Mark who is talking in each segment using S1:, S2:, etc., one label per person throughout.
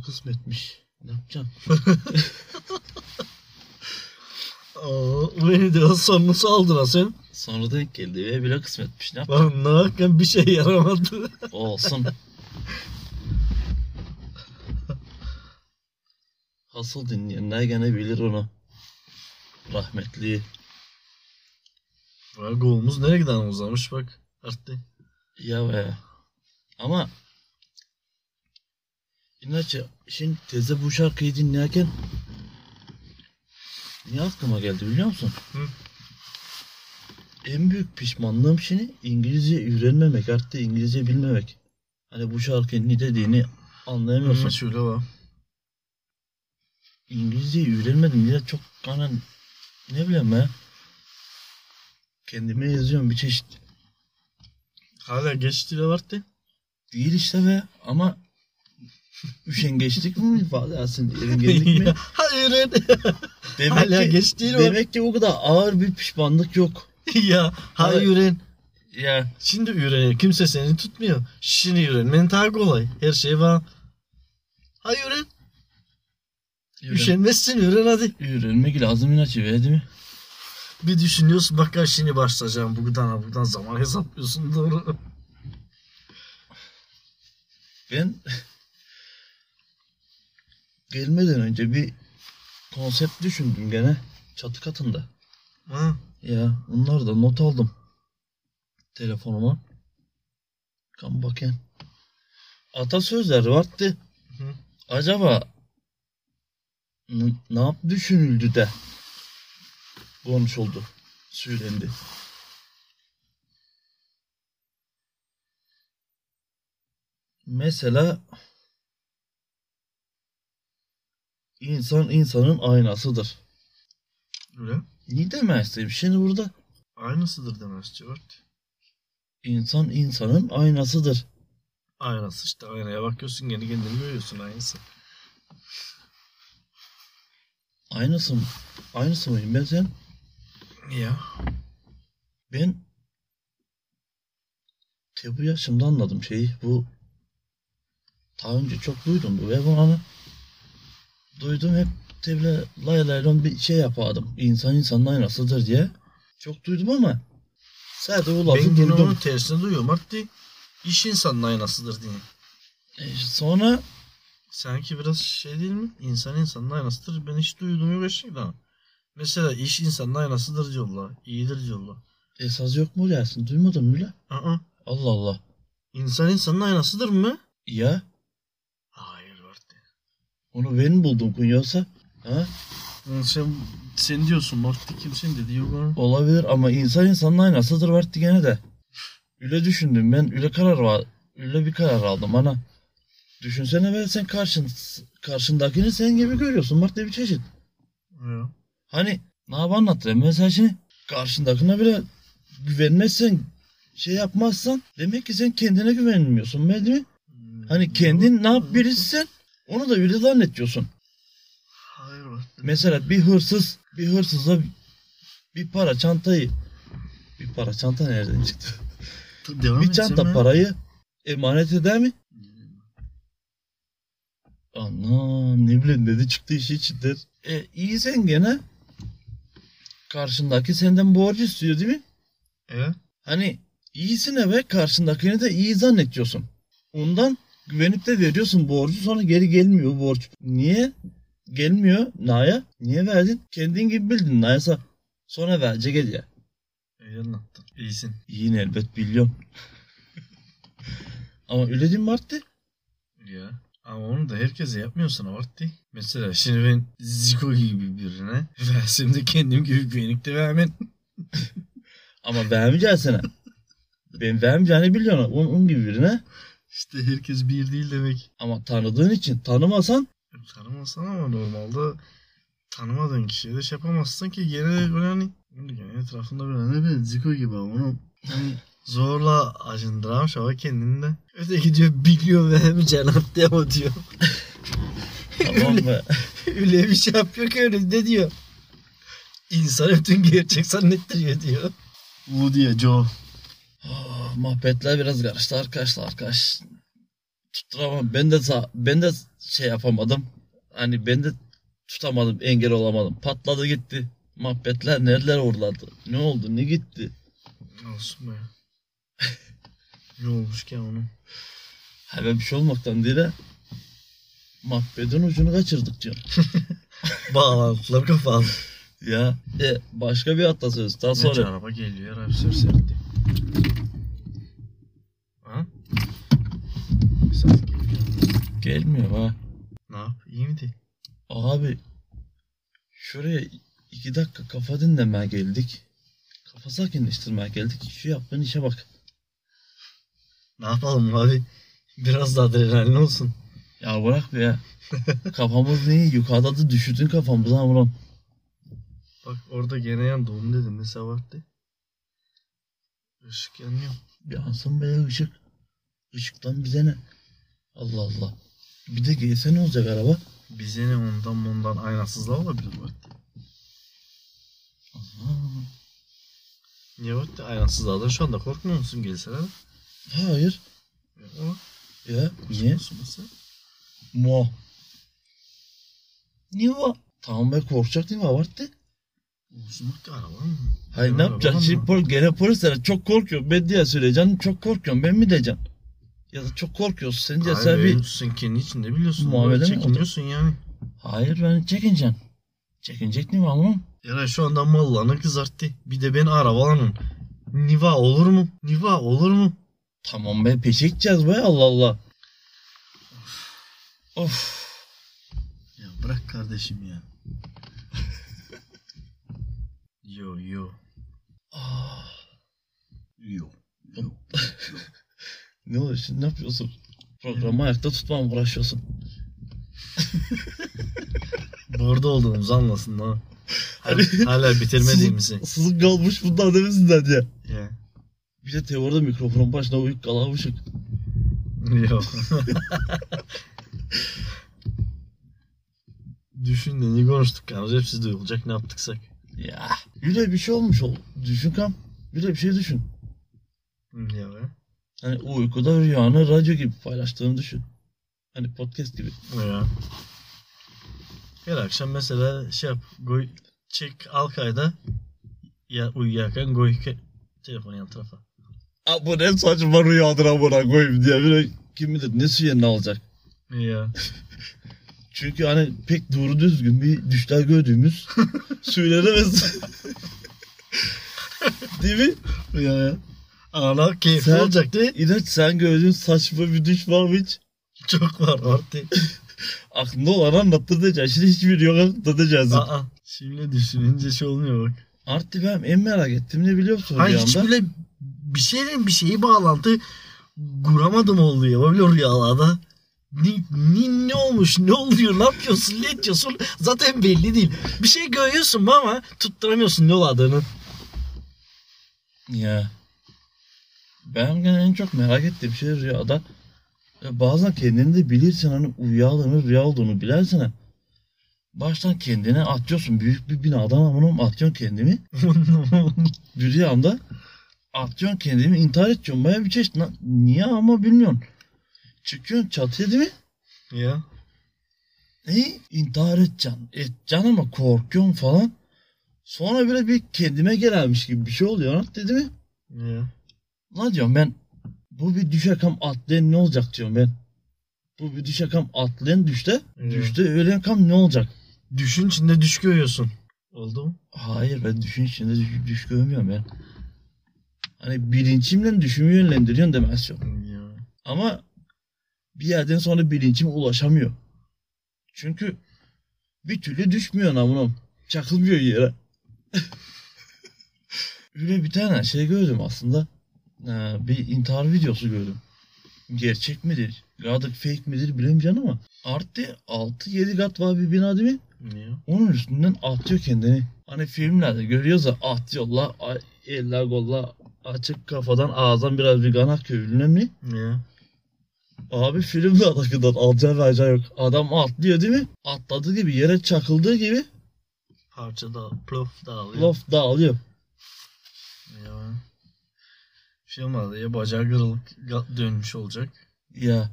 S1: kısmetmiş. Ne yapacağım?
S2: Aa, beni de sonunu aldın sen.
S1: Sonra denk geldi ve bile kısmetmiş. Ne yap?
S2: Lan ne yapayım bir şey yaramadı.
S1: Olsun. Hasıl dinleyenler gene bilir onu. Rahmetli.
S2: Bak golümüz nereye giden uzamış bak. Arttı.
S1: Ya be. Ama İnaçı şimdi teyze bu şarkıyı dinlerken niye aklıma geldi biliyor musun?
S2: Hı.
S1: En büyük pişmanlığım şimdi İngilizce öğrenmemek, artık İngilizce bilmemek. Hani bu şarkının ne dediğini anlayamıyorsun.
S2: Hı, şöyle bak.
S1: İngilizceyi öğrenmedim diye çok hani ne bileyim ben kendime yazıyorum bir çeşit
S2: Hala geçti de vardı.
S1: değil işte be ama üşengeçlik mi ifade aslında eringenlik mi?
S2: Ya, Hayır.
S1: Demek
S2: Hala
S1: ki,
S2: geç değil o.
S1: demek ki o kadar ağır bir pişmanlık yok.
S2: ya hayır üren.
S1: Ya
S2: Şimdi üreniyor. Kimse seni tutmuyor. Şimdi ürenmenin daha kolay. Her şey var. Hayır üren. Üşenmezsin üren hadi.
S1: Öğrenmek lazım inaçı be değil mi?
S2: Bir düşünüyorsun bak ya şimdi başlayacağım. Buradan ha, buradan zaman hesaplıyorsun doğru.
S1: Ben gelmeden önce bir konsept düşündüm gene çatı katında.
S2: Ha.
S1: Ya onları da not aldım. Telefonuma. Kan bakayım. Atasözler vardı.
S2: Hı.
S1: Acaba n- ne yap düşünüldü de konuşuldu, söylendi. Mesela insan insanın aynasıdır.
S2: Üren.
S1: Ne demek istedim şimdi burada?
S2: Aynısıdır demez Cevart.
S1: İnsan insanın aynasıdır.
S2: Aynası işte aynaya bakıyorsun kendi kendini görüyorsun aynısı.
S1: Aynısı mı? Aynısı mıyım ben sen?
S2: Ya.
S1: Ben te bu yaşımda anladım şeyi. Bu daha önce çok duydum bu ve bunu hani duydum hep teble lay lay lon bir şey yapardım. İnsan insanın aynasıdır diye. Çok duydum ama sadece bu lafı
S2: Ben gene onun
S1: duydum.
S2: tersini duyuyorum. Hatta iş insanın aynasıdır diye.
S1: E, sonra
S2: Sanki biraz şey değil mi? İnsan insanın aynasıdır. Ben hiç duydum yok eşlikten. Mesela iş insanın aynasıdır diyorlar. İyidir diyorlar.
S1: esas yok mu dersin? Duymadın mı bile?
S2: Aa,
S1: Allah Allah.
S2: insan insanın aynasıdır mı?
S1: Ya
S2: Hayır Marti.
S1: onu ben buldum Kunyasa. Ha?
S2: Sen, sen diyorsun Marti kimsin dedi yok onu.
S1: Olabilir ama insan insanın aynasıdır vardı gene de. Öyle düşündüm ben öyle karar var. Öyle bir karar aldım ana. Düşünsene ben sen karşın, karşındakini sen gibi görüyorsun bak ne bir çeşit.
S2: Ya.
S1: Hani ne yap anlatayım mesela şimdi karşındakine bile güvenmezsen şey yapmazsan demek ki sen kendine güvenmiyorsun be değil mi? Hani kendin ne yap birisin onu da öyle zannediyorsun.
S2: Hayır Marti.
S1: Mesela bir hırsız bir hırsıza bir para çantayı bir para çanta nereden çıktı?
S2: Devam
S1: Bir
S2: et sen
S1: çanta
S2: be.
S1: parayı emanet eder mi? Anam ne bileyim dedi çıktı işi içindir. E iyi sen gene karşındaki senden borcu istiyor değil mi?
S2: E?
S1: Hani iyisin evet karşındakini de iyi zannediyorsun. Ondan güvenip de veriyorsun borcu sonra geri gelmiyor borç. Niye? Gelmiyor Naya. Niye verdin? Kendin gibi bildin Naya'sa. Sonra verecek gel ya.
S2: İyi anlattın. İyisin.
S1: Yine elbet biliyorum. Ama öyle değil mi Marti?
S2: Ya. Ama onu da herkese yapmıyorsun abarttı. Mesela şimdi ben Zico gibi birine versem de kendim gibi güvenlik de vermem.
S1: Ama vermeyeceksin sana. Ben vermeyeceğini biliyorsun. Onun, onun gibi birine.
S2: İşte herkes bir değil demek.
S1: Ama tanıdığın için tanımasan
S2: Tanımasan ama normalde tanımadığın kişiye de şey yapamazsın ki gene de böyle hani yani etrafında böyle ne bileyim Zico gibi ama onu hani zorla acındıran şava kendini de. Öteki diyor biliyor ve hem cenap diyor ama diyor.
S1: tamam mı?
S2: Öyle bir şey yapıyor ki önünde diyor. İnsan bütün gerçek zannettiriyor diyor. Woody diye Joe.
S1: Ah, Muhabbetler biraz karıştı arkadaşlar. Arkadaş. tutturamam. Ben de sa- ben de şey yapamadım. Hani ben de tutamadım, engel olamadım. Patladı gitti. Muhabbetler nereler uğurladı. Ne oldu, ne gitti?
S2: Olsun be. ne olmuş ki onun?
S1: Ha ben bir şey olmaktan değil ha. Muhabbetin ucunu kaçırdık diyor.
S2: Bağlantılar kapalı.
S1: Ya e, başka bir atasözü daha
S2: Sonra...
S1: sonra.
S2: araba geliyor, rapsör sertti. Ha? Bir ses geliyor.
S1: Gelmiyor ha.
S2: Ne yap? İyi miydi?
S1: Abi şuraya iki dakika kafa dinlemeye geldik. Kafa sakinleştirmeye geldik. Şu yaptığın işe bak.
S2: Ne yapalım abi? Biraz da adrenalin olsun.
S1: Ya bırak be ya. Kafamız niye? Yukarıda da düşürdün kafamızı amuram.
S2: Bak orada gene yan doğum dedim. Ne sabahtı? Işık yanıyor.
S1: Bir ansın böyle ışık. Işıktan bize ne? Allah Allah. Bir de gelse ne olacak araba?
S2: Bize ne ondan bundan aynasızlığa olabilir bu hatta.
S1: Aha.
S2: Niye bak da aynasızlığa da şu anda korkmuyor musun gelseler?
S1: Hayır.
S2: Ama
S1: Ya niye?
S2: korkmuyorsun mesela.
S1: Mo. Niye o? Tamam ben korkacak değil mi? Abarttı.
S2: Olsun bak da araba mı?
S1: Hayır ne
S2: Araba
S1: yapacaksın?
S2: mı?
S1: Şimdi pol, gene polisler çok korkuyor. Ben diye söyleyeceğim. Çok korkuyorum. Ben mi diyeceğim? Ya da çok korkuyorsun. Sen diye sen
S2: Abi
S1: bir...
S2: sen kendi içinde biliyorsun.
S1: Muamele mi
S2: Muamele Çekiniyorsun yani.
S1: Hayır ben çekineceğim. Çekinecek değil mi ama?
S2: Yara şu anda mallarını kızarttı. Bir de beni arabalanın. Niva olur mu? Niva olur mu?
S1: Tamam be peşe gideceğiz be Allah Allah. Of.
S2: Ya bırak kardeşim ya. yo yo.
S1: Ah.
S2: Yo.
S1: Ne oluyor şimdi ne yapıyorsun? Programı ayakta tutmam uğraşıyorsun.
S2: Burada olduğumuzu anlasın ha. Hala, hala bitirmediğimizi.
S1: Sızık, sızık kalmış bunlar demesinden diye.
S2: ya.
S1: Bir de teoride mikrofon başına uyuk kalamışık.
S2: Yo. Düşün de ne konuştuk yalnız hepsi duyulacak ne yaptıksak.
S1: Ya. Bir de bir şey olmuş ol. Düşün kam. Bir de bir şey düşün.
S2: Ya be.
S1: Hani uykuda rüyanı radyo gibi paylaştığını düşün. Hani podcast gibi.
S2: Ya. Her akşam mesela şey yap. Goy, çek Alkay'da ya, uyuyakan goy ke- telefonu yan tarafa.
S1: Aa, bu ne saçma rüyadır amına koyayım diye. Bir de kim bilir ne suya ne alacak.
S2: Ya.
S1: Çünkü hani pek doğru düzgün bir düşler gördüğümüz söylenemez. Değil mi?
S2: ya. Ana keyifli
S1: Sen-
S2: olacak değil.
S1: İlaç sen gördüğün saçma bir düş var mı hiç?
S2: Çok var artık.
S1: Aklında olan anlattıracaksın. Şimdi hiçbir yok anlatacaksın.
S2: Aa, şimdi düşününce şey olmuyor bak.
S1: Artık ben en merak ettim ne biliyor musun
S2: Hayır hiç
S1: rüyamda?
S2: böyle bir şeyden bir şeyi bağlantı kuramadım oldu ya. Böyle rüyalarda. Ne, ne, ne olmuş ne oluyor ne yapıyorsun ne ediyorsun zaten belli değil. Bir şey görüyorsun ama tutturamıyorsun ne oladığını.
S1: Ya. Ben gene en çok merak ettiğim şey rüyada. Ya bazen kendini de bilirsin hani uyuyaldığını rüya olduğunu bilersin. ha. Baştan kendini atıyorsun. Büyük bir binadan amına atıyorsun kendini. Bir rüyamda atıyorsun kendini intihar ediyorsun. Baya bir çeşit. Lan Niye ama bilmiyorum. Çıkıyorsun çatıya değil mi?
S2: ya.
S1: E, intihar edeceksin. Edeceksin ama korkuyorsun falan. Sonra böyle bir kendime gelmiş gibi bir şey oluyor. Lan Dedi mi?
S2: Ya.
S1: Lan diyorum ben bu bir düşe kam atlayan ne olacak diyorum ben. Bu bir düşe kam atlayan düşte.
S2: Evet.
S1: Düşte ölen kam ne olacak?
S2: Düşün içinde düş görüyorsun. Oldu mu?
S1: Hayır ben düşün içinde düş, düş görmüyorum ben. Hani bilinçimle düşümü yönlendiriyorsun demek istiyorum.
S2: Ya.
S1: Ama bir yerden sonra bilincime ulaşamıyor. Çünkü bir türlü düşmüyor namunum. Çakılmıyor yere. Öyle bir tane şey gördüm aslında. Ee, bir intihar videosu gördüm. Gerçek midir? Gadık fake midir bilemeyeceğim ama. Artı 6-7 kat var bir bina değil mi?
S2: Ya.
S1: Onun üstünden atıyor kendini. Hani filmlerde görüyoruz ya atıyorlar. a- Eller golla açık kafadan ağızdan biraz bir ganak köylüne mi?
S2: Ya.
S1: Abi filmde alakadar alacağı vereceği yok. Adam atlıyor değil mi? Atladığı gibi yere çakıldığı gibi
S2: Parça da plof dağılıyor.
S1: lof dağılıyor.
S2: Ya. Bir şey olmadı ya bacağı kırılıp ga- dönmüş olacak.
S1: Ya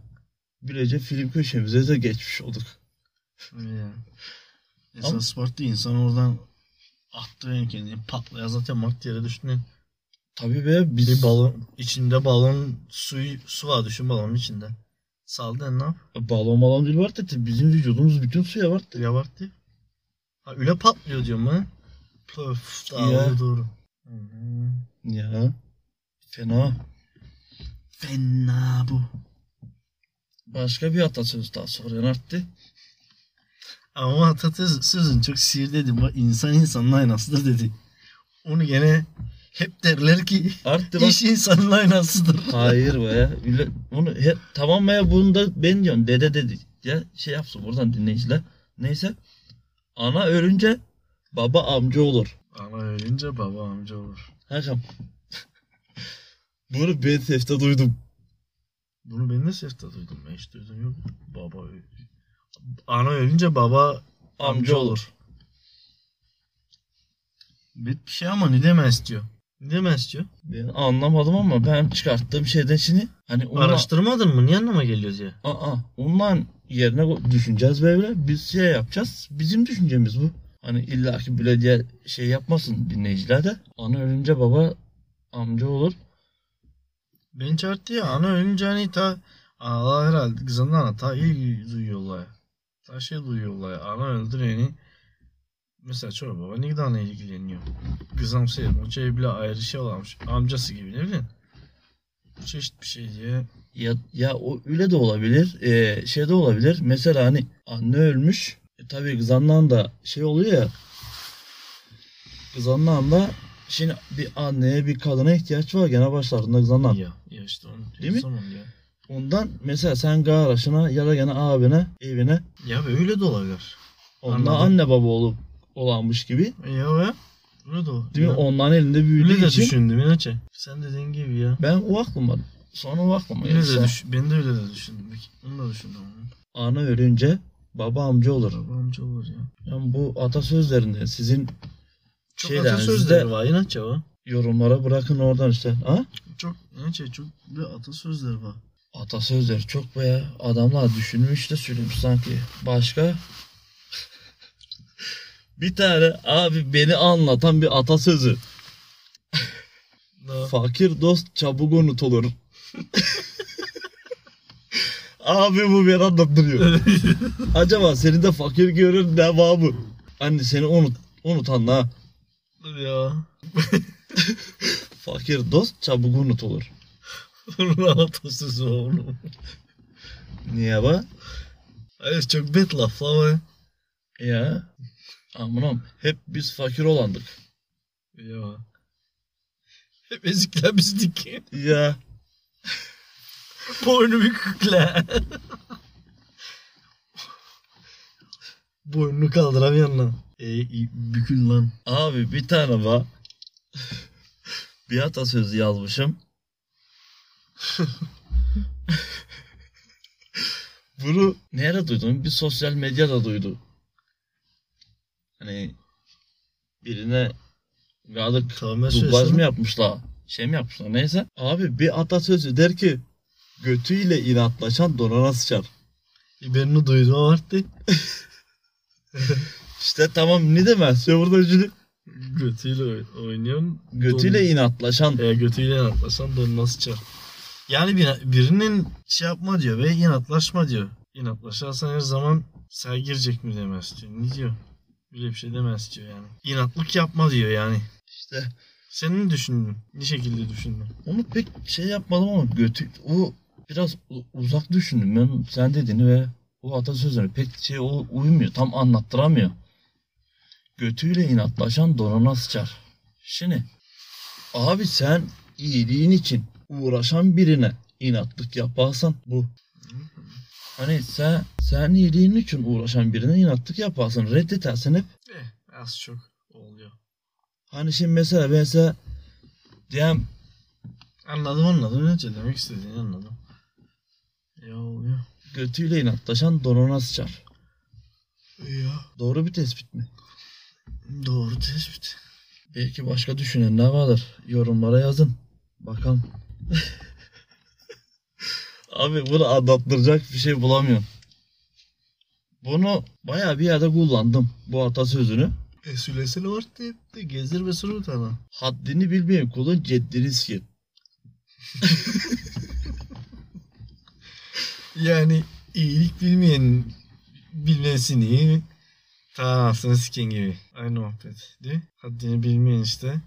S1: Bilece film köşemize de geçmiş olduk.
S2: Öyle yani. Esas sport değil. İnsan oradan attı yani kendini patlaya zaten mart yere düştün.
S1: Tabii be
S2: Bir
S1: biz
S2: balon içinde balon suyu su var düşün balonun içinde. Saldı yani ne yap?
S1: balon balon değil var dedi. Bizim vücudumuz bütün suya var dedi.
S2: Yavarttı. Ha üle patlıyor diyorum ha. Pöf
S1: Ya.
S2: dağılıyor doğru. Hı.
S1: Ya. Fena.
S2: Fena bu.
S1: Başka bir atasözü daha soruyan arttı.
S2: Ama atasözün çok sihir dedi. Bak insan insanın aynasıdır dedi. Onu gene hep derler ki
S1: Arttı bak.
S2: iş insanın aynasıdır.
S1: Hayır be ya. Millet- Onu he, tamam be ya bunu da ben diyorum. Dede dedi. Ya şey yapsın buradan dinleyiciler. Neyse. Ana ölünce baba amca olur.
S2: Ana ölünce baba amca olur.
S1: Hakan. Bunu ben sefte duydum.
S2: Bunu ben de sefta duydum. Ben hiç duydum yok. Baba ö- Ana ölünce baba
S1: Amca,
S2: Amca
S1: olur.
S2: olur. bir bir şey ama ne demez diyor. Ne demez diyor.
S1: Ben anlamadım ama ben çıkarttığım şeyden şimdi hani onunla,
S2: Araştırmadın mı? Niye anlama geliyor diye.
S1: aa, onunla yerine ko- düşüneceğiz böyle. Biz şey yapacağız. Bizim düşüncemiz bu. Hani illaki belediye şey yapmasın dinleyiciler de. Ana ölünce baba amca olur.
S2: Beni çağırdı ya. Ana ölünce hani ta Allah herhalde kızından ana ta iyi duyuyorlar. Ta şey duyuyorlar. Ana öldüreni mesela çoğu baba ne kadar ana ilgileniyor. Kızam seyir. O şey bile ayrı şey olamış. Amcası gibi ne bileyim. Çeşit bir şey diye.
S1: Ya, ya o öyle de olabilir. Ee, şey de olabilir. Mesela hani anne ölmüş. E, tabii kız anlan da şey oluyor ya. Kız anlan da şimdi bir anneye bir kadına ihtiyaç var gene başlarında kız anlan.
S2: Ya, ya işte onu
S1: Değil mi?
S2: Zaman ya.
S1: Ondan mesela sen kardeşine ya da gene abine evine
S2: ya böyle de olabilir.
S1: onunla
S2: Anladım.
S1: anne baba olup olanmış gibi.
S2: Ya ve böyle de olabilir.
S1: Değil mi? Onların elinde
S2: Öyle
S1: büyüdüğü
S2: de
S1: için.
S2: düşündüm inaçe. Sen dediğin gibi ya.
S1: Ben o aklıma sonra o aklıma
S2: Öyle
S1: geldi.
S2: de düş ben de öyle de düşündüm. Peki, Onu da düşündüm.
S1: Ana ölünce baba amca olur.
S2: Baba amca olur ya.
S1: Yani bu atasözlerinde sizin
S2: Çok
S1: Şeyden,
S2: atasözleri
S1: bizde-
S2: var inatçı var.
S1: yorumlara bırakın oradan işte. Ha?
S2: Çok inatçı çok bir atasözleri var.
S1: Atasözleri çok be ya. Adamlar düşünmüş de söylemiş sanki. Başka? bir tane abi beni anlatan bir atasözü.
S2: Daha
S1: Fakir dost çabuk unutulur. Abi bu beni anlattırıyor. Acaba seni de fakir görür devamı. Anne seni unut, unutan ha.
S2: ya.
S1: Fakir dost çabuk unutulur.
S2: Bunun atasözü var oğlum.
S1: Niye bak?
S2: Hayır çok bet laf la be.
S1: Ya. Amınam hep biz fakir olandık.
S2: Ya. Hep ezikler bizdik.
S1: Ya.
S2: Boynu bükükler. Boynunu kaldıramayan lan. E, bükün lan.
S1: Abi bir tane var. bir atasözü yazmışım. Bunu nerede duydum? Bir sosyal medyada duydu. Hani birine birazcık
S2: Tövbe
S1: dublaj
S2: söylesin.
S1: mı yapmışlar? Şey mi yapmışlar? Neyse. Abi bir atasözü der ki götüyle inatlaşan donana sıçar.
S2: Biberini duydum ama arttı.
S1: İşte tamam ne demez. Ya burada şimdi
S2: Götüyle oy- oynuyorsun.
S1: götüyle inatlaşan
S2: Don, e, götüyle inatlasan don nasıl çar? Yani bir, birinin şey yapma diyor ve inatlaşma diyor. İnatlaşarsan her zaman sen girecek mi demez diyor. Ne diyor? Böyle bir şey demez diyor yani. İnatlık yapma diyor yani.
S1: işte
S2: Senin ne düşündün? Ne şekilde düşündün?
S1: Onu pek şey yapmadım ama götü o biraz u- uzak düşündüm ben sen dediğini ve o atasözleri pek şey o uymuyor tam anlattıramıyor. Götüyle inatlaşan donuna sıçar. Şimdi abi sen iyiliğin için uğraşan birine inatlık yaparsan bu. Hani sen sen iyiliğin için uğraşan birine inatlık yaparsın reddedersen hep
S2: Eh, az çok oluyor.
S1: hani şimdi mesela ben size diyem
S2: Anladım anladım. Ne demek istediğini anladım. Ya oluyor.
S1: götüyle inatlaşan donuna sıçar.
S2: Ya.
S1: Doğru bir tespit mi?
S2: Doğru tespit.
S1: Belki başka düşünenler vardır. Yorumlara yazın. Bakalım. Abi bunu anlattıracak bir şey bulamıyorum. Bunu bayağı bir yerde kullandım bu atasözünü.
S2: Esülesini E, var diye de gezdir ve sürü tane.
S1: Haddini bilmeyen kulun ceddini sikir.
S2: Yani iyilik bilmeyen bilmesin iyi. Ta anasını sikin gibi. Aynı muhabbet. Değil? Haddini bilmeyen işte.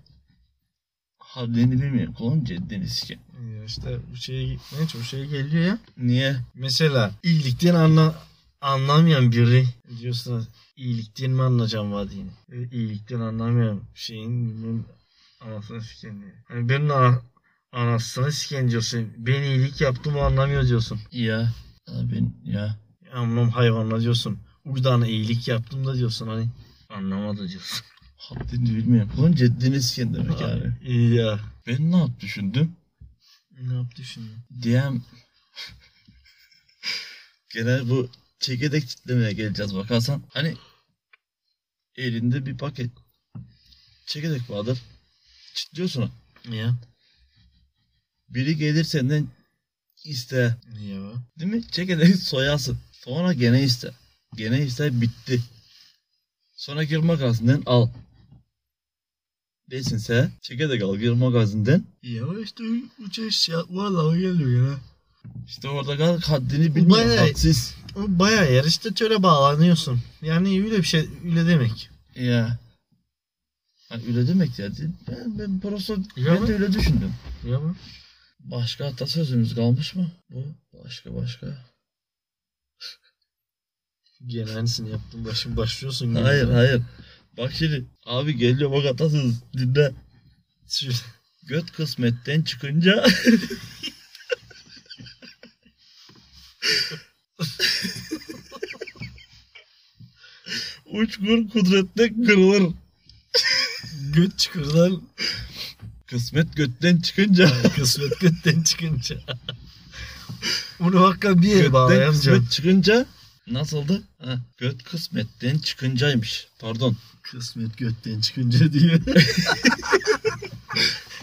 S1: Haddini bilmeyen kulun ceddini sikir.
S2: Ya işte bu şeye neyse bu şeye geliyor ya.
S1: Niye?
S2: Mesela iyilikten anla, anlamayan biri diyorsun iyilikten mi anlayacağım vadiyi? E, İyilikten anlamayan şeyin bilmem anasını siken diye. Hani benim ana- anasını siken diyorsun. Ben iyilik yaptım o anlamıyor diyorsun.
S1: Ya. Abi ya.
S2: Amlam hayvanla diyorsun. Uydana iyilik yaptım da diyorsun hani. Anlamadı diyorsun.
S1: Haddini bilmeyen kulun ceddini sikir demek abi.
S2: İyi ya.
S1: Ben ne yap düşündüm?
S2: Ne yaptı şimdi?
S1: Diyem. Gene bu çekirdek kitlemeye geleceğiz bakarsan. Hani elinde bir paket çekirdek vardır. Çitliyorsun.
S2: Niye?
S1: Biri gelir senden iste.
S2: Niye be?
S1: Değil mi? Çekirdeği soyasın. Sonra gene iste. Gene iste bitti. Sonra gir magazinden al. Değilsinse çekirdek al gir magazinden.
S2: Ya işte uçuş ya. Valla o geliyor ya.
S1: İşte orada kal haddini bilmiyor.
S2: Bayağı-
S1: Hadsiz.
S2: O bayağı yer işte töre bağlanıyorsun. Yani öyle bir şey öyle demek.
S1: Ya. Ha, öyle demek ya. Ben, ben burası
S2: Ya
S1: ben de öyle düşündüm.
S2: Ya mı?
S1: Başka atasözümüz kalmış mı? Bu başka başka.
S2: Gene aynısını yaptın başın başlıyorsun. gene.
S1: Hayır hayır. Bak şimdi abi geliyor bak atasöz dinle.
S2: Şöyle-
S1: Göt kısmetten çıkınca Uçkur kudrette kırılır.
S2: Göt çıkırdan
S1: Kısmet götten çıkınca
S2: kısmet götten çıkınca. Bunu hakikaten bir yere
S1: Götten
S2: bağlayamayacağım.
S1: kısmet çıkınca nasıldı? Ha, göt kısmetten çıkıncaymış. Pardon.
S2: Kısmet götten çıkınca diye.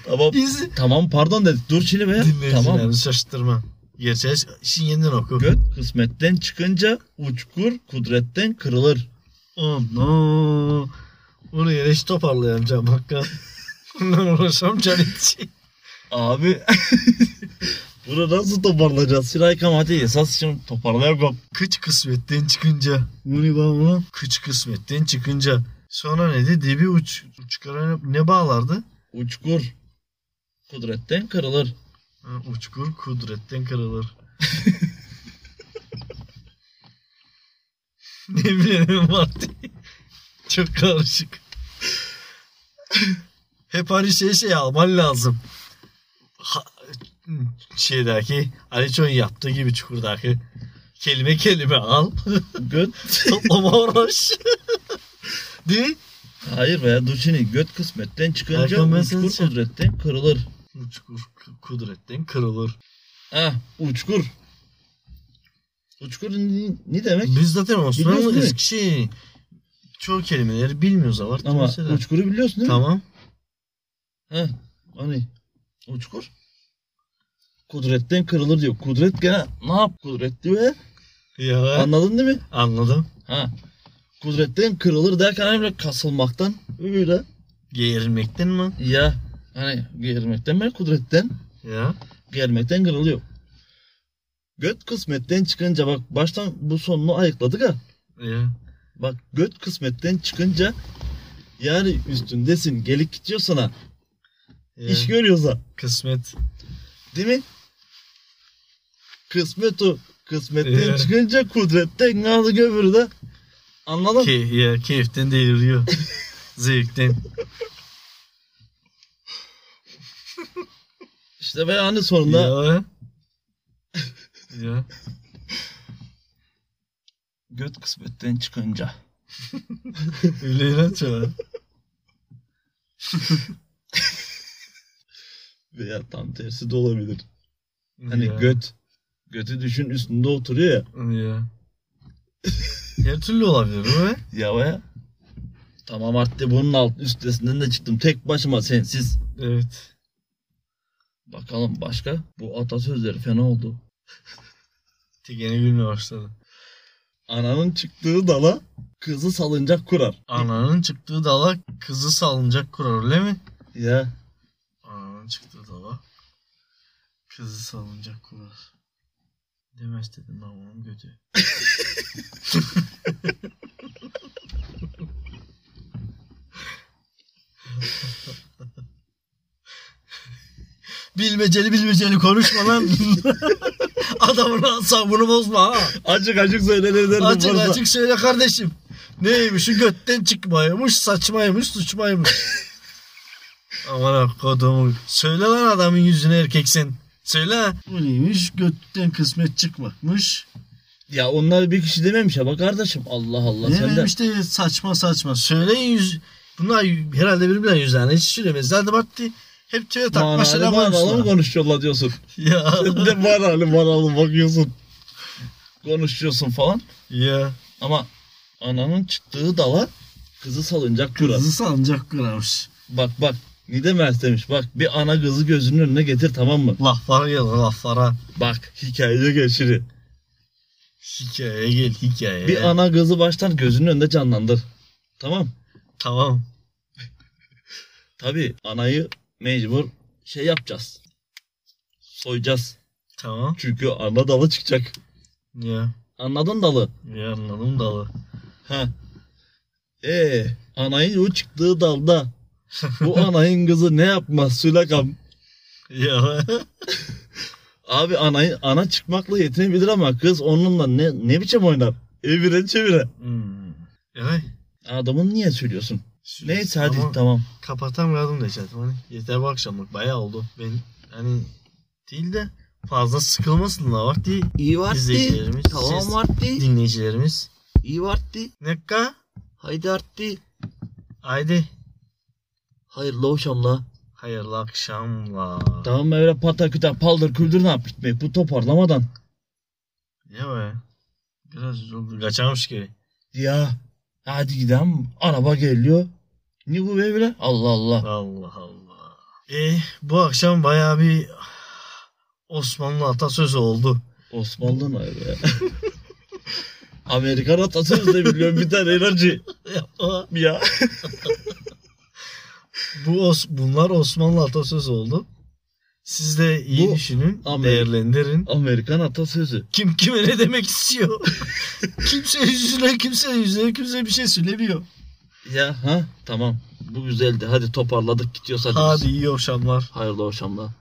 S1: Tamam.
S2: Bizi
S1: tamam pardon dedik. Dur şimdi be.
S2: dinleyicilerimizi
S1: Tamam.
S2: şaşırtma. Gerçi işin yeniden oku.
S1: Göt kısmetten çıkınca uçkur kudretten kırılır.
S2: Oh no. Bunu yere hiç toparlayamayacağım hakikaten. Bundan uğraşamayacağım hiç.
S1: Abi bunu nasıl toparlayacağız? Siray Kamati esas şimdi toparlayamam.
S2: Kıç kısmetten çıkınca. Bunu ben bunu. Kıç kısmetten çıkınca. Sonra neydi? Dibi uç, uçkara ne bağlardı?
S1: Uçkur kudretten kırılır.
S2: Ha, uçkur kudretten kırılır. ne bileyim artık. Çok karışık. Hep hani şey şey alman lazım. Ha, şeydaki Aliço'nun yaptığı gibi çukurdaki kelime kelime al.
S1: Göt
S2: Toplama uğraş. Değil?
S1: Hayır be dur şimdi göt kısmetten çıkınca
S2: Erkan ben seni
S1: uçkur
S2: sev-
S1: kudretten kırılır.
S2: Uçkur k- kudretten kırılır.
S1: Ah uçkur. Uçkur ne, ne demek?
S2: Biz zaten
S1: Biliyorsun
S2: Osmanlı
S1: değil mi?
S2: Eskişehir'in çoğu kelimeleri bilmiyoruz abartma
S1: Ama
S2: mesela.
S1: uçkuru biliyorsun değil mi?
S2: Tamam.
S1: Heh, hani uçkur. Kudretten kırılır diyor. Kudret gene ne yap kudret diyor.
S2: Ya
S1: Anladın değil mi?
S2: anladım.
S1: Ha. Kudretten kırılır derken hani böyle kasılmaktan öyle
S2: Geğirmekten mi?
S1: ya hani germekten ben kudretten
S2: Ya.
S1: germekten kırılıyor. Göt kısmetten çıkınca bak baştan bu sonunu ayıkladık ha.
S2: Ya.
S1: Bak göt kısmetten çıkınca yani üstündesin gelip gidiyor sana
S2: ya.
S1: iş görüyorsa
S2: Kısmet.
S1: değil mi? Kısmet o. Kısmetten
S2: Ya.
S1: çıkınca kudretten kaldı göbürü de. Anladın?
S2: Ke ya keyiften deliriyor. Zevkten.
S1: İşte ben hani sonunda
S2: ya. ya.
S1: göt kısmetten çıkınca.
S2: Öyle inanç var.
S1: Veya tam tersi de olabilir. Hani
S2: Ya.
S1: göt. Götü düşün üstünde oturuyor ya.
S2: Ya. Her türlü olabilir bu be.
S1: Ya be. Tamam artık bunun alt üstesinden de çıktım. Tek başıma sensiz.
S2: Evet.
S1: Bakalım başka. Bu atasözleri fena oldu.
S2: Tek yeni gülmeye başladı.
S1: Ananın çıktığı dala kızı salıncak kurar.
S2: Ananın çıktığı dala kızı salınacak kurar öyle mi?
S1: Ya
S2: Ananın çıktığı dala kızı salınacak kurar. Demez dedim ben onun götü. bilmeceli bilmeceli konuşma lan. Adamın asabını bozma ha.
S1: acık acık söylenirler.
S2: Açık açık söyle kardeşim. Neymiş şu götten çıkmaymış, saçmaymış, suçmaymış. Aman ha, kodumu. Söyle lan adamın yüzüne erkeksin. Söyle. ha. Bu neymiş? Götten kısmet çıkmakmış.
S1: Ya onlar bir kişi dememiş ya bak kardeşim. Allah Allah
S2: ne
S1: sen de.
S2: demiş de saçma saçma. Söyleyin yüz... Bunlar y- herhalde birbirlerine yüzlerine hiç söylemez. Zaten baktı hep tüye takma şeyler
S1: Manalı manalı mı
S2: koymuşlar.
S1: konuşuyorlar diyorsun.
S2: Ya.
S1: Sen de manalı manalı bakıyorsun. Konuşuyorsun falan.
S2: ya.
S1: Ama ananın çıktığı dala kızı salıncak kurar.
S2: Kızı sancak kuramış.
S1: Bak bak. Ne demez demiş. Bak bir ana kızı gözünün önüne getir tamam mı?
S2: Laflara gel laflara.
S1: Bak hikayeye geçiri.
S2: Hikayeye gel hikayeye.
S1: Bir ana kızı baştan gözünün önünde canlandır. Tamam.
S2: Tamam.
S1: Tabii anayı mecbur şey yapacağız. Soyacağız.
S2: Tamam.
S1: Çünkü ana dalı çıkacak.
S2: Ya.
S1: Anladın dalı.
S2: Ya anladım dalı.
S1: Ha. Ee, anayın o çıktığı dalda bu anayın kızı ne yapmaz Sülakam?
S2: Ya.
S1: Abi anayın ana çıkmakla yetinebilir ama kız onunla ne ne biçim oynar? Evire çevire.
S2: hmm. Evet.
S1: Adamın niye söylüyorsun? Neyse hadi
S2: Tamam.
S1: tamam.
S2: Kapatamıyordum da zaten. Hani yeter bu akşamlık bayağı oldu. Ben hani değil de fazla sıkılmasınlar var diye
S1: İyi
S2: İzleyicilerimiz, siz-
S1: vartti.
S2: dinleyicilerimiz.
S1: İyi vartti.
S2: Nekka.
S1: Haydi arttı.
S2: Haydi.
S1: Hayırlı akşamlar.
S2: Hayırlı akşamlar.
S1: Tamam öyle pataküte paldır küldür ne yap bitmek bu toparlamadan.
S2: Ya be. Biraz oldu. Kaçarmış gibi.
S1: Ya hadi gidelim araba geliyor. Ne bu be bile? Allah Allah.
S2: Allah Allah. E bu akşam bayağı bir Osmanlı atasözü oldu.
S1: Osmanlı mı öyle? Amerikan atasözü de biliyorum bir tane enerji.
S2: ah.
S1: Ya.
S2: Bu Os- bunlar Osmanlı atasözü oldu. Siz de iyi
S1: Bu
S2: düşünün,
S1: Amerika-
S2: değerlendirin.
S1: Amerikan atasözü.
S2: Kim kime ne demek istiyor? kimse yüzüne, kimse yüzüne, kimse bir şey söylemiyor.
S1: Ya ha tamam. Bu güzeldi. Hadi toparladık gidiyoruz hadi. biz.
S2: Hadi iyi akşamlar.
S1: Hayırlı akşamlar.